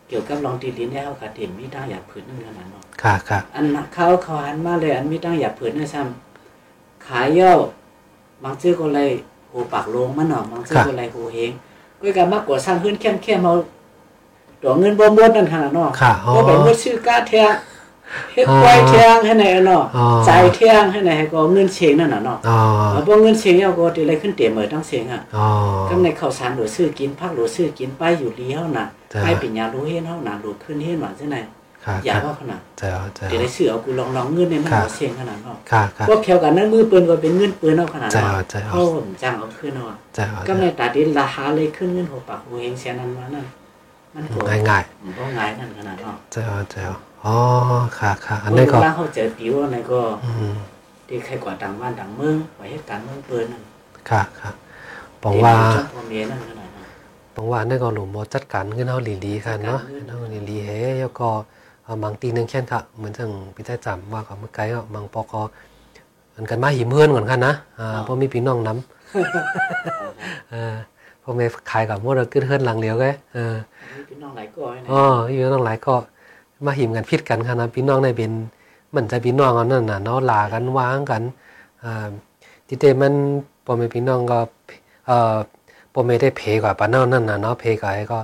Speaker 4: เกี่ยวกับรองตีลินเนี่ยเขาก็เด่นมีได้อยากผืนนั่นขนาดเนาะ
Speaker 3: ค่ะค่ะ
Speaker 4: อันน่ะเขาเขาหันมาเลย อันมีตั้งอย่าเผืนนะซ้ำขายเหย่าบางซื้อก็เลยโหปากโลงมันหนอกบางซื้อก็เลยโหเฮงก็การมากกว่าสร้างขึ้นเข้มเข้มๆเอาดอกเงินบ่มดนั่นขนาดเนอก
Speaker 3: ค่ะอ๋อ
Speaker 4: ก็ไปมดซื้อก้าแทงเฮ็ดไว้แทงให้ไหนเนาะ
Speaker 3: อ๋อ
Speaker 4: จ่ายแทงให้ไหนให้ก็เอาเงินเชงนั่นน่ะเนาะ
Speaker 3: อ๋อ
Speaker 4: เอาบ่เงินเชงเอาก็ติเลยขึ้นเตะเหมยตั้งเชงอ่ะ
Speaker 3: อ๋อ
Speaker 4: ก็ในข้าวสารหรือซื้อกินผักหรือซื้อกินไปอยู่ลีเฮาน่ะ
Speaker 3: จ้ะ
Speaker 4: ไปเป็นยารู้เฮ็ดเฮาน่ะหรือขึ้นเฮ็ดหว่าจังได
Speaker 3: ค่ะ
Speaker 4: อย่า
Speaker 3: ค่ะ
Speaker 4: ว่าขนาด
Speaker 3: เจ้าเจ้า
Speaker 4: เดี๋ยวได้ซื้อเอากูลองลองเงินในมัน
Speaker 3: ครับ
Speaker 4: หัวเสียงขนาดเนาะ
Speaker 3: ค่ะค่ะ
Speaker 4: พวกแขวกันนั้นมือปืนก็เป็นเงินปืนเอาขนาด
Speaker 3: จ้า
Speaker 4: เนาะ
Speaker 3: จ้า
Speaker 4: เขาผมจ้างเอาขึ้นเนาะ
Speaker 3: เจ้า
Speaker 4: ก็ในตาดินราคาเลยขึ้นเงินหัวปากหัวเฮงแสนนั้นมานั่นมันโห
Speaker 3: ง่ายง่าย
Speaker 4: ผมก็ง่ายนั่นขนาดเนาะ
Speaker 3: ๆเจ้าเจ้าอ๋อค่ะค่ะอันนี้ก็
Speaker 4: เวลาเขาเจอติวอะไรก็
Speaker 3: อืม
Speaker 4: ที่ใครกว่าต่างบ้านต่างเมืองไว้เหตุการณ์เมืองปืนนั่น
Speaker 3: ค่ะค่ะบอกว่า
Speaker 4: เจ้าพ่อเมียนั่นขนาดเนาะ
Speaker 3: บางวันนี่ก็หลุมหมอจัดการขึ้นเฮาหลีหลีค่ะเนาะ
Speaker 4: จัดการขึ้น
Speaker 3: เฮาหลีหลีเฮ้แล้วก็เอาบางตีหนึงแค่นค่ะเหมือนจังพี่ได้จำว่าก็เมื่อไกลก็บางปอกออันกันมาหิมเฮือนก่อนค่ะนะอ่าบ่มีพี่น้องนำ เออพ่อแม่ขายกับหมดแล้วขึ้นเฮือนหลังเดียวแกเออ
Speaker 4: มีพี่น้องหลายก้อยนะ
Speaker 3: อ๋ออยู่น้องหลายก็มาหิมกันพิดกันค่ะนะพี่น้องในเป็นมันจะพี่น้องเอานั่นน่ะเนาะลากันวางกันอ่าที่เตมันพ่อแม่พี่น้องก็เอ่อ ปมไม่ได้เพกว่าปานเนานั่นน่ะเนาะเพกว่าไอ้ก็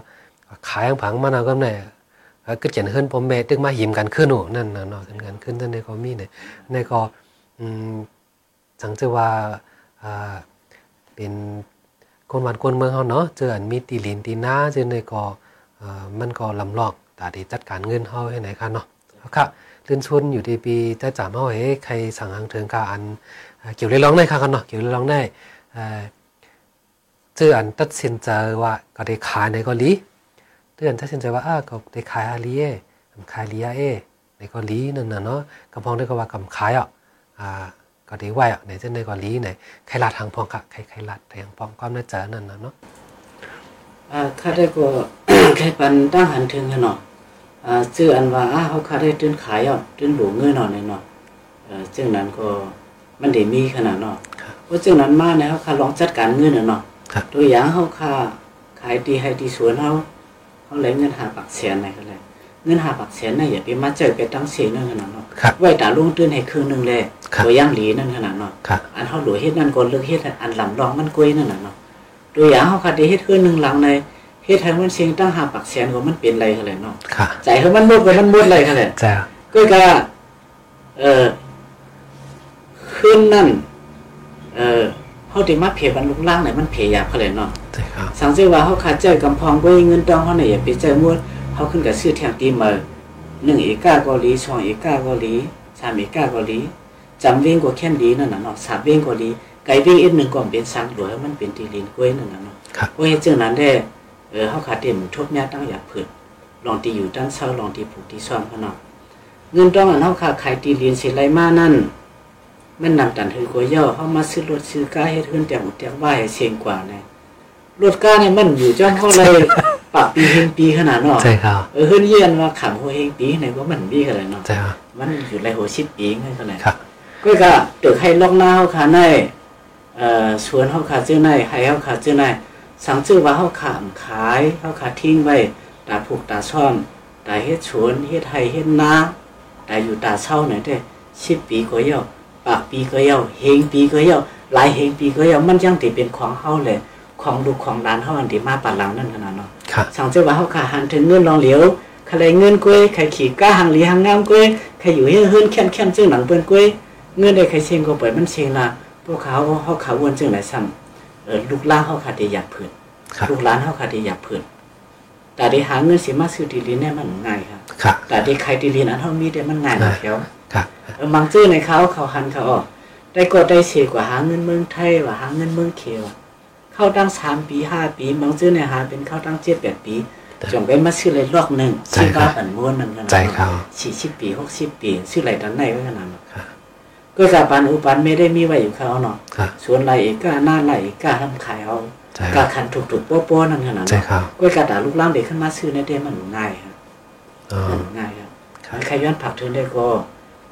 Speaker 3: ขายผังมานเอาก็แน่เอ่อก็เขียนขึ้นปมเมตึกมาหิมกันขึ้นโอ้นั่นน่ะเนาะถึงกันขึ้นนั่นในก็มีเนี่ยในก็อืมสังเจอว่าอ่าเป็นคนวันคนเมืองเฮาเนาะเจออันมีตีลินตีหน้าเจอในก็เอ่อมันก็ลำลอกตาดีจัดการเงินเฮาให้ไหนค่ะเนาะเอาครับเรื่นชวนอยู่ที่ปีจะจามเฮาให้ใครสั่งหางเถิงกาอันเอ่อเกี่ยวเรื่องร้องได้ค่ะกันเนาะเกี่ยวเรื่องร้องได้เอ่อ เจืออันตัดสินใจว่าก็ได้ขายในเกาหลีเจืออันตัดสินใจว่าอ้าก็ได้ขายอาลีเอขายลียเอในเกาหลีนั่นน่ะเนาะกำพองได้ก็ว่ากำขายอ่ะอ่าก็ได้ไหวอ่ะในเจ้าในเกาหลีไหนใครลัดทางพองกะใครใครลัดทางพองความน่าเจอนั่นน่ะเนาะ
Speaker 4: อ่าข้าได้ก็ ใครปันตั้งหันถึงกันเนาะอ่าชื่ออันว่าอ้าเขาข้าได้ตื้นขายเอ่ะตื้นหลวงเงินเนาะในเนาะ เอ่อจึงนั้นก็มันได้มีขนาดเนาะเพราะจึงนั้นมาเนี่ยเขาคาลองจัดการเงินน่ะเนาะ
Speaker 3: ครับ
Speaker 4: ตัวอย่างเขาคาขายดีให้ดีสวนเขาเขาเลยเงินหาปักแสนอะไรก็เลยเงินหาปักแสนน่ะอย่าไปมาเจอไปตั้งเสียนั่นขนาดเนาะ
Speaker 3: ครับ
Speaker 4: ไว้ตาลุงตื้นให้ครึ่งหนึงเลย
Speaker 3: ครับ
Speaker 4: ตัวอย่างหลีนั่นขนาดเนาะ
Speaker 3: ค่ะ
Speaker 4: อันเขาหลวเฮ็ดนั่นก็เลือกเฮ็ดอันลำรองมันกล้วยนั่นน่ะเนาะตัวอย่างเขาคาได้เฮ็ดครึ่งหนึงหลังในเฮ็ดให้มันเสียงตั้งหาปักแสนก็มันเป็นไรเขาเลยเนาะ
Speaker 3: ค่ะ
Speaker 4: ใจเขามันหมดก็มันหมดเลยเขาเลย
Speaker 3: เจ้า
Speaker 4: ก็ก็เออขึ้นนั่น เออเขาถึงมาเพบันลุกล่างไหนมันเพยาเขาเลยเนาะ
Speaker 3: เจ้าครับ
Speaker 4: สังเกตว่าเขาขาดเจอกำพองก็ยเงินดองเขาไหนอย่าไปเจอมวดเขาขึ้นกับชื่อแทงตีเมอ หนึ่งเอกาเกาหลีสองเอกาเกาหลีสามเอกาเกาหลีจำเว้งกว่าแค่นดีนั่นน่ะเนาะสามเว้งเกาหลีไก่เว้งเอ็ดหนึ่งก่อนเป็นสังหลวยมันเป็นตีลินกล้วยนั่นน่ะเนาะ
Speaker 3: ครับ
Speaker 4: โอ้ยเจ้านั้นได้เออเฮาขาเต็มทบญาติตั้งอยากเผิดลองตีอยู่ตั้งเศร้าลองตีผูกตีซ่อมเขาเนาะเงินต้องอันเฮาขาขายตีลินสิไลมานั่น มันนำตันถือกวยย่อเข้ามาซื้อรถซื้อก้าเฮ็ดเฮือนแต่งอุดแต่งบ้านให้เชียงกว่าเนี่ยรถก้าเนี่ยมันอยู่จ้องเข้าเลยปากปีเฮงปีขนาดเนาะ
Speaker 3: ใช่ครับ
Speaker 4: เออเฮือนเยียนว่าขำโหเฮงปีไหนว่ามันมีขนาดเนาะ
Speaker 3: ใช่ครับ
Speaker 4: มันอยู่ไรโหชิปปีขนาด
Speaker 3: ครับ
Speaker 4: ก็ก็ตึกให้ล็อกหน้าเฮาขาในเอ่อสวนเฮาขาเจ้าในให้เฮาขาเจ้าในสังชื่อว่าเฮาขามขายเฮาขาทิ้งไว้ตาผูกตาซ่อมตาเฮ็ดสวนเฮ็ดไห้เฮ็ดนาตาอยู่ตาเช่าหน่อยเด้อชิปปีก็เหี่ยวปากปีก็เหี่ยวเฮงปีก็เหี่ยวหลายเฮงปีก็เหี่ยวมันจังติเป็นของเฮาเลยของลูกของหลานเฮาอันที่มาปานหลังนั่นขนาดเนาะ
Speaker 3: ครับ
Speaker 4: สองเจ้าว่าเขาขาหันถึงเงินรองเหลียวใครเงินกล้วยใครขี่ก้าหังหลีหังงามกล้วยใครอยู่เฮือนเฮือนแค้นแค้นเจ้าหนังเปิ้นกล้วย เงินได้ใครเชงก็เปิดมันเชงละพวกเขาเขาขาวนเจ้าไหนซ้ำเออลูกหล้านเขาขาดได้อยากเพื่น
Speaker 3: ครับ
Speaker 4: ลูกหล้านเขาขาดได้อยากเพื่นแต่ได้หาเงินสิมาซื้อดีลินเนี่ยมันง่ายครับ
Speaker 3: ครับ
Speaker 4: แต่ได้ใครดีลินอันเท่ามีได้มันง่ายนะเขียว
Speaker 3: ครับ
Speaker 4: เออบางเจ้าในเขาเขาหันเขาออก ได้กดได้เสียกว่าหาเงินเมืองไทยว่าหาเงินเมืองเขียว เข้าตั้งสามปีห้าปีบางเจ้าในหาเป็นเข้าตั้งเจ็ดแปดปีจนไปมาซื้อเลยรอกหนึ่ง
Speaker 3: ใช่
Speaker 4: ซื้อ
Speaker 3: ครับ
Speaker 4: บ้าปันม้วนนั่นกัน
Speaker 3: ใช่ครับ
Speaker 4: สี่สิบปีหกสิบปีซื้ออะไรตันไหนไว้ขนาดนั้น
Speaker 3: ครับ
Speaker 4: ก็กาปันอุปันไม่ได้มีไว้อยู่เขาเนาะ
Speaker 3: ครับ
Speaker 4: สวนไรเอกกาหน้าไรเอกกาทำขายเอา
Speaker 3: ใช่ค
Speaker 4: กา
Speaker 3: รับ
Speaker 4: คันถูกถูกๆโป๊ะๆนั่นขนาด
Speaker 3: ใช่
Speaker 4: นั้น
Speaker 3: ครับ
Speaker 4: กล้วยกระดาษลูกล่างเด็กขึ้นมาซื้อในเดมันง่ายครับ
Speaker 3: อ๋อ
Speaker 4: ง่ายครับ
Speaker 3: ครับ
Speaker 4: ใครย้อนผักเทินได้ก็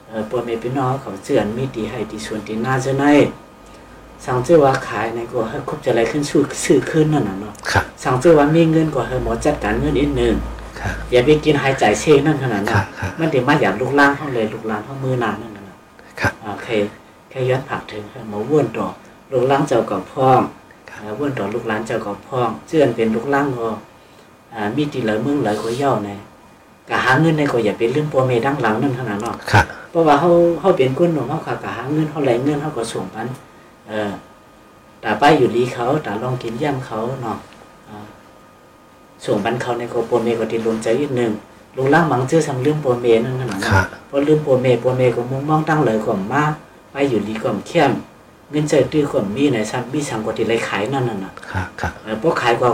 Speaker 4: เอ่อปวดเมพี่น้องเขาเจือนมีดีให้ดีส่วนดีหน้าเจะในสั่งเจ้าว่าขายในก็ให้ครบจะอะไรขึ้นสู่ซื้อขึ้นนั่นน่ะเนาะ
Speaker 3: ครับ
Speaker 4: สั่งเจ้าว่ามีเงินก็ให้หมอจัดการเงินอีกหนึ่ง
Speaker 3: ครับ
Speaker 4: อย่าไปกินหายใจเชงนั่นขนาด
Speaker 3: ครั
Speaker 4: นั้
Speaker 3: บ
Speaker 4: น
Speaker 3: ครับ
Speaker 4: มันเดี๋ยวมาอยากลูกล่างเขาเลยลูกล่างเขามือนานนั่นน่ะเนาะ
Speaker 3: ครับ
Speaker 4: อ่าใครใครย้อนผักเทินให้หมาว่วนต่อลูกล่างเจ้าเก่าพ่อง
Speaker 3: ครับ
Speaker 4: อ่าว่วนต่อลูกหลานเจ้าเก่าพ่องเจือนเป็นลูกล่างก็อ่ามีดีหลายเมืองหลายก็เย่าใน กะหาเงินในก็อย่าเป็นเรื่องปัวเมดังหลังนั่นขนาดเนาะ
Speaker 3: ครับ
Speaker 4: เพราะว่าเขาเขาเป็นคนหนุ่มเขาขากะหาเงินเขาไหลเงินเขาก็ส่งปันเออตาป้ายอยู่ดีเขาตาลองกินย่ำเขาเนาะอ่าส่งปันเขาในก็ปัวเมก็ติดลมใจอีกหนึ่งลุงล่างหมังเชื่อสังเรื่องปัวเมนั่นขนาด
Speaker 3: ครั
Speaker 4: เนาะ
Speaker 3: บ
Speaker 4: เพราะเรื่องปัวเมปัวเมก็มุ่งมองตั้งเลยกล่อมมากไปอยู่ดีกล่อมเข้มเงินเจอตื้อกล่อมมีไหนซ้ำมีสังกติไรขายนั่นน่ะนะครับ
Speaker 3: ครับ
Speaker 4: เออเพราะขายกว่า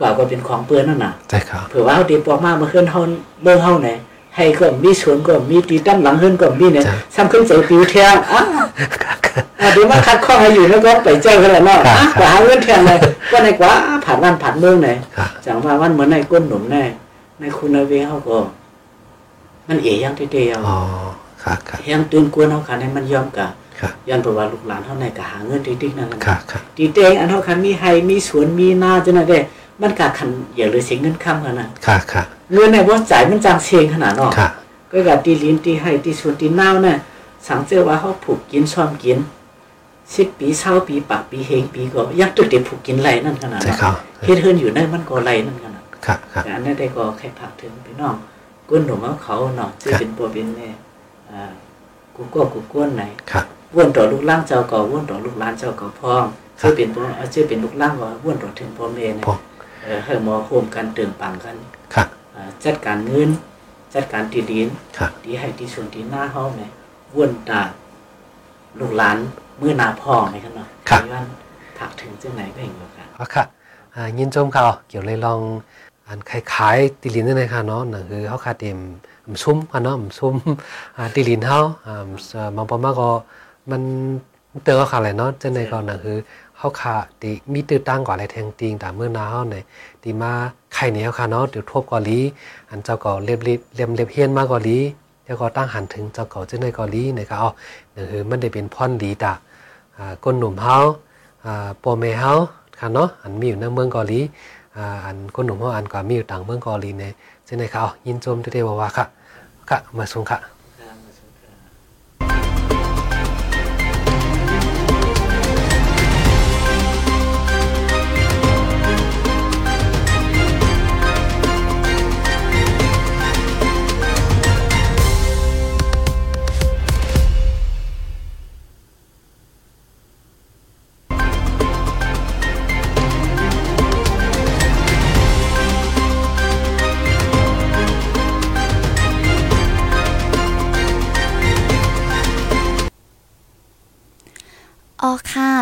Speaker 4: กว่าก็เป็นของเปื้อนนั่นน่ะ
Speaker 3: ใช่ครับ
Speaker 4: เผื่อว่าเขาตีปอกมามาเคลื่อนเฮาเมืองเฮาไหนให้ก็มีสวนก็มีตีตั้มหลังเฮือนก็มีเนี่ยซ้ำขึ้นใส่ปิวเทียงอ้าวอ่ะเดี๋ยวมาคัดข้อให้อยู่แล้วก็ไปเจ้ากันแหละเนาะอ่ะกว่าหาเงินเทียงเลยก็ในกว่าผ่านวันผ่านเมืองไหน
Speaker 3: ครับ
Speaker 4: จังว่าวันเหมือนในก้นหนุ่มแน่ในคุณเวเฮาก็ มันเอ๋ยยังเตี้ยๆ
Speaker 3: อ๋
Speaker 4: เอา
Speaker 3: อครับครับ
Speaker 4: เฮียังตื่นกวนเฮาคันให้มันยอมกะ
Speaker 3: ครับ
Speaker 4: ย้อนเพราะว่าลูกหลานเฮาในก็หาเงินติ๊กๆนั่นน่ะ
Speaker 3: ครับครับ
Speaker 4: ตีเตงอันเท่าคันมีไฮมีสวนมีนาจังนั้นเด้มันกะคันอย่าเลยเสียเงินค้ำกันน่ะ
Speaker 3: ค่ะค่ะ
Speaker 4: เงินในว่าจ่ายมันจางเชงขนาดเนอก
Speaker 3: ค่ะ
Speaker 4: ก็กับตีลิ้นตีให้ตีชวนตีเน่าเนี่ยสังเจอว่าเขาผูกกินซ้อมกินสิบปีเศร้าปีปากปีเฮงปีก็ยักตัวเด็กผูกกินไรนั่นขนาด
Speaker 3: ใช่
Speaker 4: เนาะ
Speaker 3: ครับ
Speaker 4: เฮ็ดเฮือนอยู่ในมันก็ไรนั่นขนาด
Speaker 3: ค่ะค่ะ
Speaker 4: แต่อันนั้นได้ก็แค่ผักถึงพี่น้องก้นหนุ่มเอาเขาเนาะจะเป็นปัวเป็นแม่อ่ากูก็กูก้นไหน
Speaker 3: ครับ
Speaker 4: ว่วนต่อลูกล่างเจ้าก่อว่วนต่อลูกหล้านเจ้าก่อพ่องชื่อเป็นพ่อเอาชื่อเป็นลูกล่างว่าว่วนต่อถึงพ่อแม่เนี่ย
Speaker 3: พ่อ
Speaker 4: เออให้หมอโคมกันเติมปังกัน
Speaker 3: ค่ะ
Speaker 4: อ่าจัดการเงิน จัดการที่ดิน
Speaker 3: ค่ะ
Speaker 4: ที่ให้ที่ส่วนที่หน้าเฮาเนี่ยวนตาลูกหลานมื้อหน้าพ่อไหมครับเนาะ
Speaker 3: ครับ
Speaker 4: ไปว่าผักถึงจังไหนก็เห็นแล้วกัน
Speaker 3: เอาค่ะอ่ายินชมเขาเกี่ยวเลยลองอันคล้ายๆติลินนั่นเลยค่ะเนาะนั่นคือเขาคาเต็มอันซุ่มค่ะเนาะอันซุ่มอ่าติลินเขาอ่าเอ่อบางปะมาก็มันเตอค่ะอะไรเนาะเจังในก็นั่นคือเขาคาติมีตื้อตั้งกว่าอะไรแทงติงแต่เมื่อนาเขาเนี่ยติมาไข่เหนียวค่ะเนาะเดี๋ยวทบเกาหลีอันเจ้าก็เล็บเล็บเล็บเล็บเฮียนมาเกาหลีเดี๋ยวก็ตั้งหันถึงเจ้าเก่าเจังในเกาหลีเนี่ยค่ะเอานั่นคือมันได้เป็นพ่อนดีตาอ่าก้นหนุ่มเขา อ่าโปรเมเฮาค่ะเนาะอันมีอยู่ในเมืองเกาหลีอ่าอันคนหนุ่มเฮาอันก็มีอยู่ต่างเมืองเกาหลีเนี่ยซึ่งในเขายินชมเทวาวาค่ะค่ะมาสูงค่ะ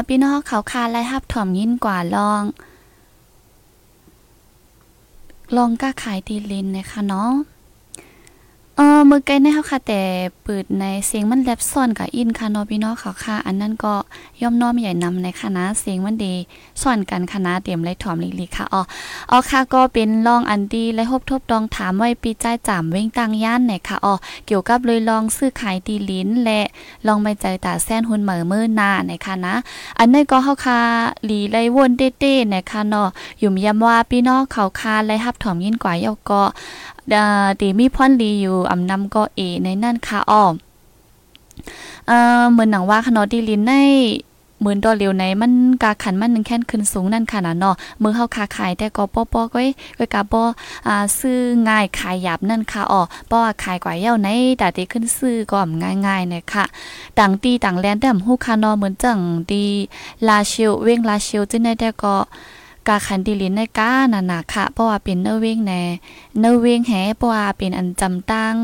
Speaker 2: พี่น้องเขาคาไล่ฮับถ่อมยินกว่าลอง ลองก็ขายดีลินนะคะเนาะ เออมือไกลในเฮาค่ะแต่เปิดในเสียงมันแลบซ่อนกับอินค่ะเนาะพี่น้องเขาค่ะ อันนั้นก็ย่อมน้อมใหญ่นำในคณะเสียงมันดีซ่อนกันคณะเตรียมไรถอมลีๆค่ะอ๋ออ๋อค่ะก็เป็นลองอันดีและหบทบดองถามไว้ปีใจายจามเว้งตังย่านไหนค่ะอ๋อเกี่ยวกับเลยลองซื้อขายดีลิ้นและลองไปใจตาแซนหุ่นเหมอมือหน้าไหนค่ะนะ อันนั้นก็เฮาค่ะหลีไรวนเต้ๆไหนค่ะเนาะอยู่มยำว่าพี่น้องเขาค่ะไรฮับถอมยินกว่าเยาก็ ดาตีมีพอนลีอยู่อำนำก็เอในนั่นค่ะอ้อมเอ่อเหมือนหนังว่าคณะดีลินในเหมือนดอเร็วในมันกาขันมันนึงแค่นขึ้นสูงนั่นค่ะนะเนาะมือเฮาคาขายแต่ก็ป้อป้อก้อยก้อยกาบ่อ่าซื้อง่ายขายหยาบนั่นค่ะอ้อป้อว่าขายกว่าเย้าในดาติขึ้นซื้อก็อ่ำง่ายๆนะค่ะต่างตีต่างแลนแต่ฮู้ค่ะเนาะเหมือนจังดีลาเชลเว้งลาเชลจึงได้แต่ก็กาขันดีลินในกานั่นน่ะค่ะเพราะว่าเป็นเนอเว้งแน่ เนอเวงแหปว่าเป็นอันจำตั้ง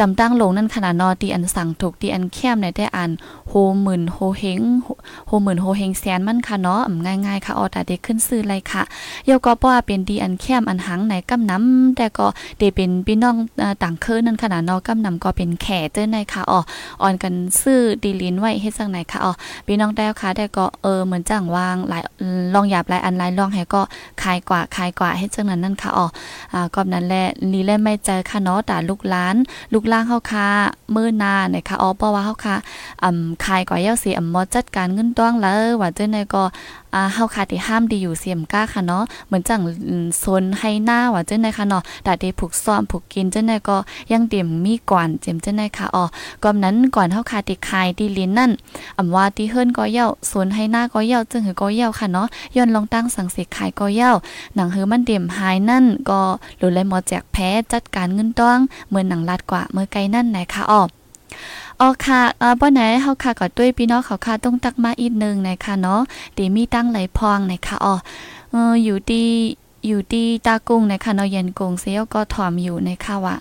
Speaker 2: จำตั้งลงนั่นขนาดนอตีอันสั่งถูกตีอันแคมในได้อันโฮหมื่นโฮเฮงโฮโฮหมื่นโฮเฮงแสนมันค่ะเนาะอ่ำง่ายๆค่ะออตาเด็กขึ้นซื้อเลยค่ะเยาก็เพราะว่าเป็นดีอันแคมอันหังไหนกำน้ำแต่ก็เดเป็นพี่น้องเอ่อต่างเคืนนั่นขนาดนอกำน้ำก็เป็นแข่เจ้าในค่ะอ๋ออ่อนกันซื้อดีลินไว้เฮ็ดจังไหนค่ะอ๋อพี่น้องได้ค่ะแต่ก็เออเหมือนจังวางหลายลองหยาบหลายอันหลายลองให้ก็ขายกว่าขายกว่าเฮ็ดจังนั้นนั่นค่ะอ๋อ อ่าก็นั้นแหละลีแลไม่ใจค่ะเนาะแต่ลูกหล้าน ลูกหล่างเฮาค่ะมื้อหน้าเนะคะอ๋อบ่ว่าเฮาค่ะอ่าขายก๋วยเตี๋ยวสิอ่าบ่จัดการเงินต้องแล้วว่าจังไดก็อ่าเฮาค่ะที่ห้ามดีอยู่เสียมก้าค่ะเนาะเหมือนจังอืมซนให้หน้าว่าจังไดค่ะเนาะแต่ได้ผูกซ้อมผูกกินจังไดก็ยังเต็มมีก่อนเจ็มจังไดค่ะอ๋อก็นั้นก่อนเฮาค่ะที่ขายดีลิ้นนั่นอ่าว่าที่เฮิรนก๋วยเตี๋ยวซนให้หน้าก๋วยเตี๋ยวจึงหือก๋วยเตี๋ยวค่ะเนาะย้อนลองตั้งสังเสกขายก๋วยเตี๋ยว หนังเฮือมันเดี่ยมหายนั่นก็หลุดเลยหมอแจกแพ้จัดการเงินต้องเหมือนหนังลัดกว่าเมื่อไกลนั่นไหนคะออกออค่ะเอ่อบ่ไหนเฮาค่ะก็ด้วยพี่น้องเขาค่ะต้องตักมาอีกหนึงนะคะเนาะดีมีตั้งไหลพองนะคะออเอออยู่ดีอยู่ดีตากุ้งนะคะเนาะเย็นกงเซียวก็ถอมอยู่นะคะว่า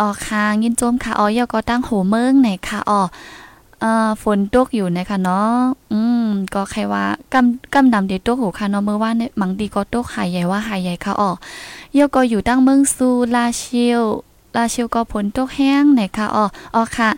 Speaker 2: ออค่ะยินโจมค่ะออยก็ตั้งโหเมืองไหนค่ะออเอ่อฝนตกอยู่นะคะเนาะอืม ก็ใครว่ากำกำนำเดตโตกหูค่ะเนาะเมื่อว่านเนี่ยมังดีก็โตกหายใหญ่ว่าหายใหญ่ค่ะออกเยอก็อยู่ตั้งเมืองซูลาเชียวลาเชียวก็ผลตกแห้งไหนค่ะอ๋ออ๋อค่ะ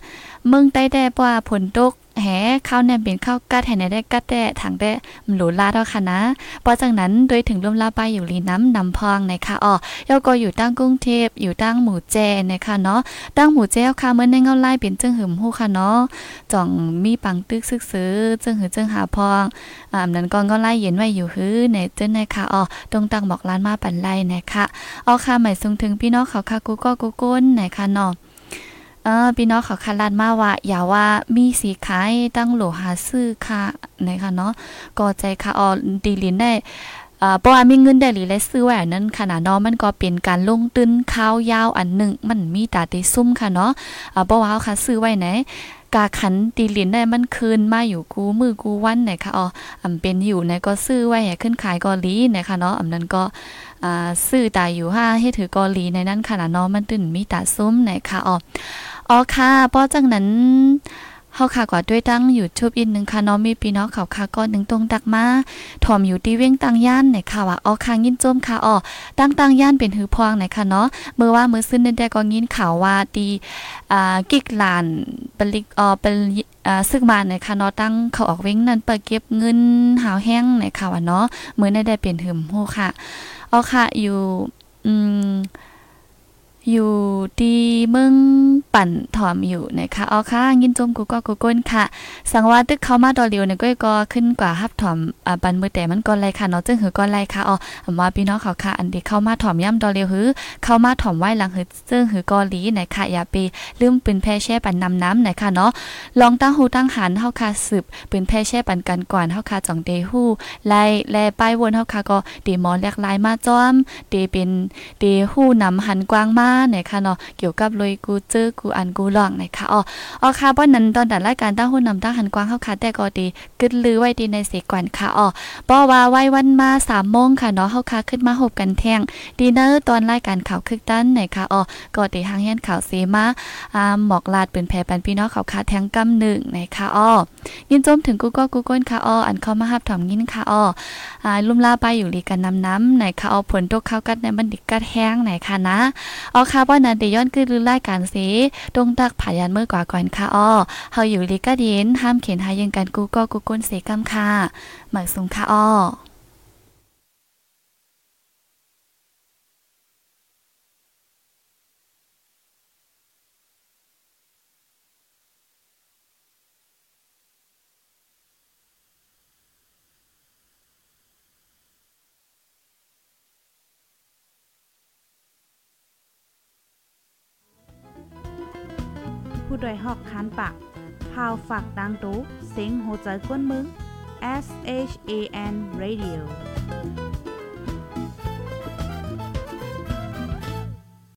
Speaker 2: เมืองใต้แด่ปว่าผลตกแหข้าวแหนมเป็นข้าวกัดแหนได้กัดแด่ถังแด่หลูลาดแล้วค่ะนะพอจากนั้นโดยถึงลมลาไปอยู่ลีน้ำนำพองในค่ะอ๋อเยอก็อยู่ตั้งกรุงเทพอยู่ตั้งหมู่แจนะคะเนาะตั้งหมู่แจค่ะเมื่อในเงาไล่เป็นจึงหึมหูค่ะเนาะ จ่องมีปังตึกซึกซื้อจึงหือจึงหาพองอ่านั้นก็ก็ไล่เย็นไว้อยู่หื้อในจึงในค่ะอ๋อตรงตังบอกร้านมาปันไล่นะคะอ๋อค่ะหมายสูงถึงพี่น้องเขาค่ะกูก็กูก้นนะคะเนาะเออพี่น้องเขาค่ะลานมาว่าอย่าว่ามีสีขายตั้งโหลหาซื้อค่ะนะคะเนาะก็ใจค่ะอ๋อดีลินได้อ่าบ่ว่ามีเงินได้หรือได้ซื้อไว้อันนั้นขนาดเนาะมันก็เป็นการลงตึนข้าวยาวอันหนึ่งมันมีตาติซุ่มค่ะเนาะอ่าบ่ว่าเขาค่ะซื้อไว้ไหน กาขันตีลินได้มันคืนมาอยู่กูมือกูวันไหนคะอ๋ออำเป็นอยู่ในก็ซื้อไว้ให้ขึ้นขายกอลีนะคะเนาะอำนั้นก็อ่าซื้อตายอยู่ห้าให้ถือกอลีในนั้นขนาดเนาะมันตื่นมีตาซุ้มไหนคะอ๋ออ๋อค่ะป้อจังนั้นเฮาค่ะกว่าด้วยตั้งอยู่ชุบอีกหนึงค่ะเนาะมีพี่น้องเขาค่ะก้อนหนึงตรงดักมาถอมอยู่ที่เว้งตังย่านไหนค่ะว่าอ๋อค่ะยินโจมค่ะอ๋อตั้งตังย่านเป็นหือพวงไหนค่ะเนาะเมื่อว่ามื้อซึ้นนั่นได้ก็ยินข่าวว่าตี อ่ากิกลานปลิกอ่อเป็นอ่าซึกมาในค่ะเนาะตั้งเขาออกเว้งนั่นเปิดเก็บเงินหาวแห้งในค่ะว่าเนาะมื้อในได้เปลี่ยนหึมโหค่ะเอาค่ะอยู่อืมอยู่ที่เมืองปั่นถอมอยู่นะคะเอาค่ะยินจมกูก็กูก้นค่ะ สังว่าตึกเขามาดอเลียวเนี่ยก็ก็ขึ้นกว่าฮับถอมอ่าปันมือแต่มันก่อนไรค่ะเนาะจึงหือก่อนไรค่ะอ๋ออำว่าพี่น้องเขาค่ะอันที่เข้ามาถอมย่ำดอเลียวหือ เข้ามาถอมไหว้หลังหือซึ่งหือกอหลีไหนค่ะอย่าไป ลืมปืนแพ่แช่ปันนำน้ำหน่อยค่ะเนาะ ลองตั้งหูตั้งหันเฮาคาสืบปืนแพ่แช่ปันกันก่อนเฮาคาจ่องเดหู้ไล่แลป้ายวนเฮาคาก็เดหมอนแหลกลายมาจ้อมเดเป็นเดหู้นำหันกว้างมา ไหนค่ะเนาะเกี่ยวกับเลยกูเจอกูอันกูหลองไหนค่ะอ๋ออ๋อค่ะป้อนนั้นตอนดัดรายการตั้งหุ่นนำตั้งหันกว้างเข้าค่ะแต่ก็ดีกึดลือไว้ดีในเสกวันค่ะอ๋อป้อว่าไว้วันมาสามโมงค่ะเนาะเข้าค่ะขึ้นมาหบกันแทงดีเนอร์ตอนรายการข่าวคึกตั้นไหนค่ะอ๋อก็ดีหางเฮียนข่าวเสมาอ่าหมอกลาดเป็นแผ่ปันพี่น้องข่าวค่ะแทงกำหนึ่งไหนค่ะอ๋อยินจมถึงกูก็กูก้นค่ะอ๋ออันเข้ามาหับถอมยินค่ะอ๋อ อ่าลุ่มล่าไปอยู่ลีกันน้ำน้ำไหนคะเอาผลตกข้าวกัดในบันดิกกัดแห้งไหนคะนะเอาค่ะว่านันเดย้อนกึ้นลือไล่การเสตรงตักผายันเมื่อกว่าก่อนค่ะอ้อเฮาอยู่ลีกัดเย็นห้ามเขียนหายังกันกูก็กูก้นเสกำค่ะหมายสูงค่ะอ้อ
Speaker 1: ผู้ดอยหอกคานปากพาวฝากดังตู้เสียงโหใจกวนมึง S H A N Radio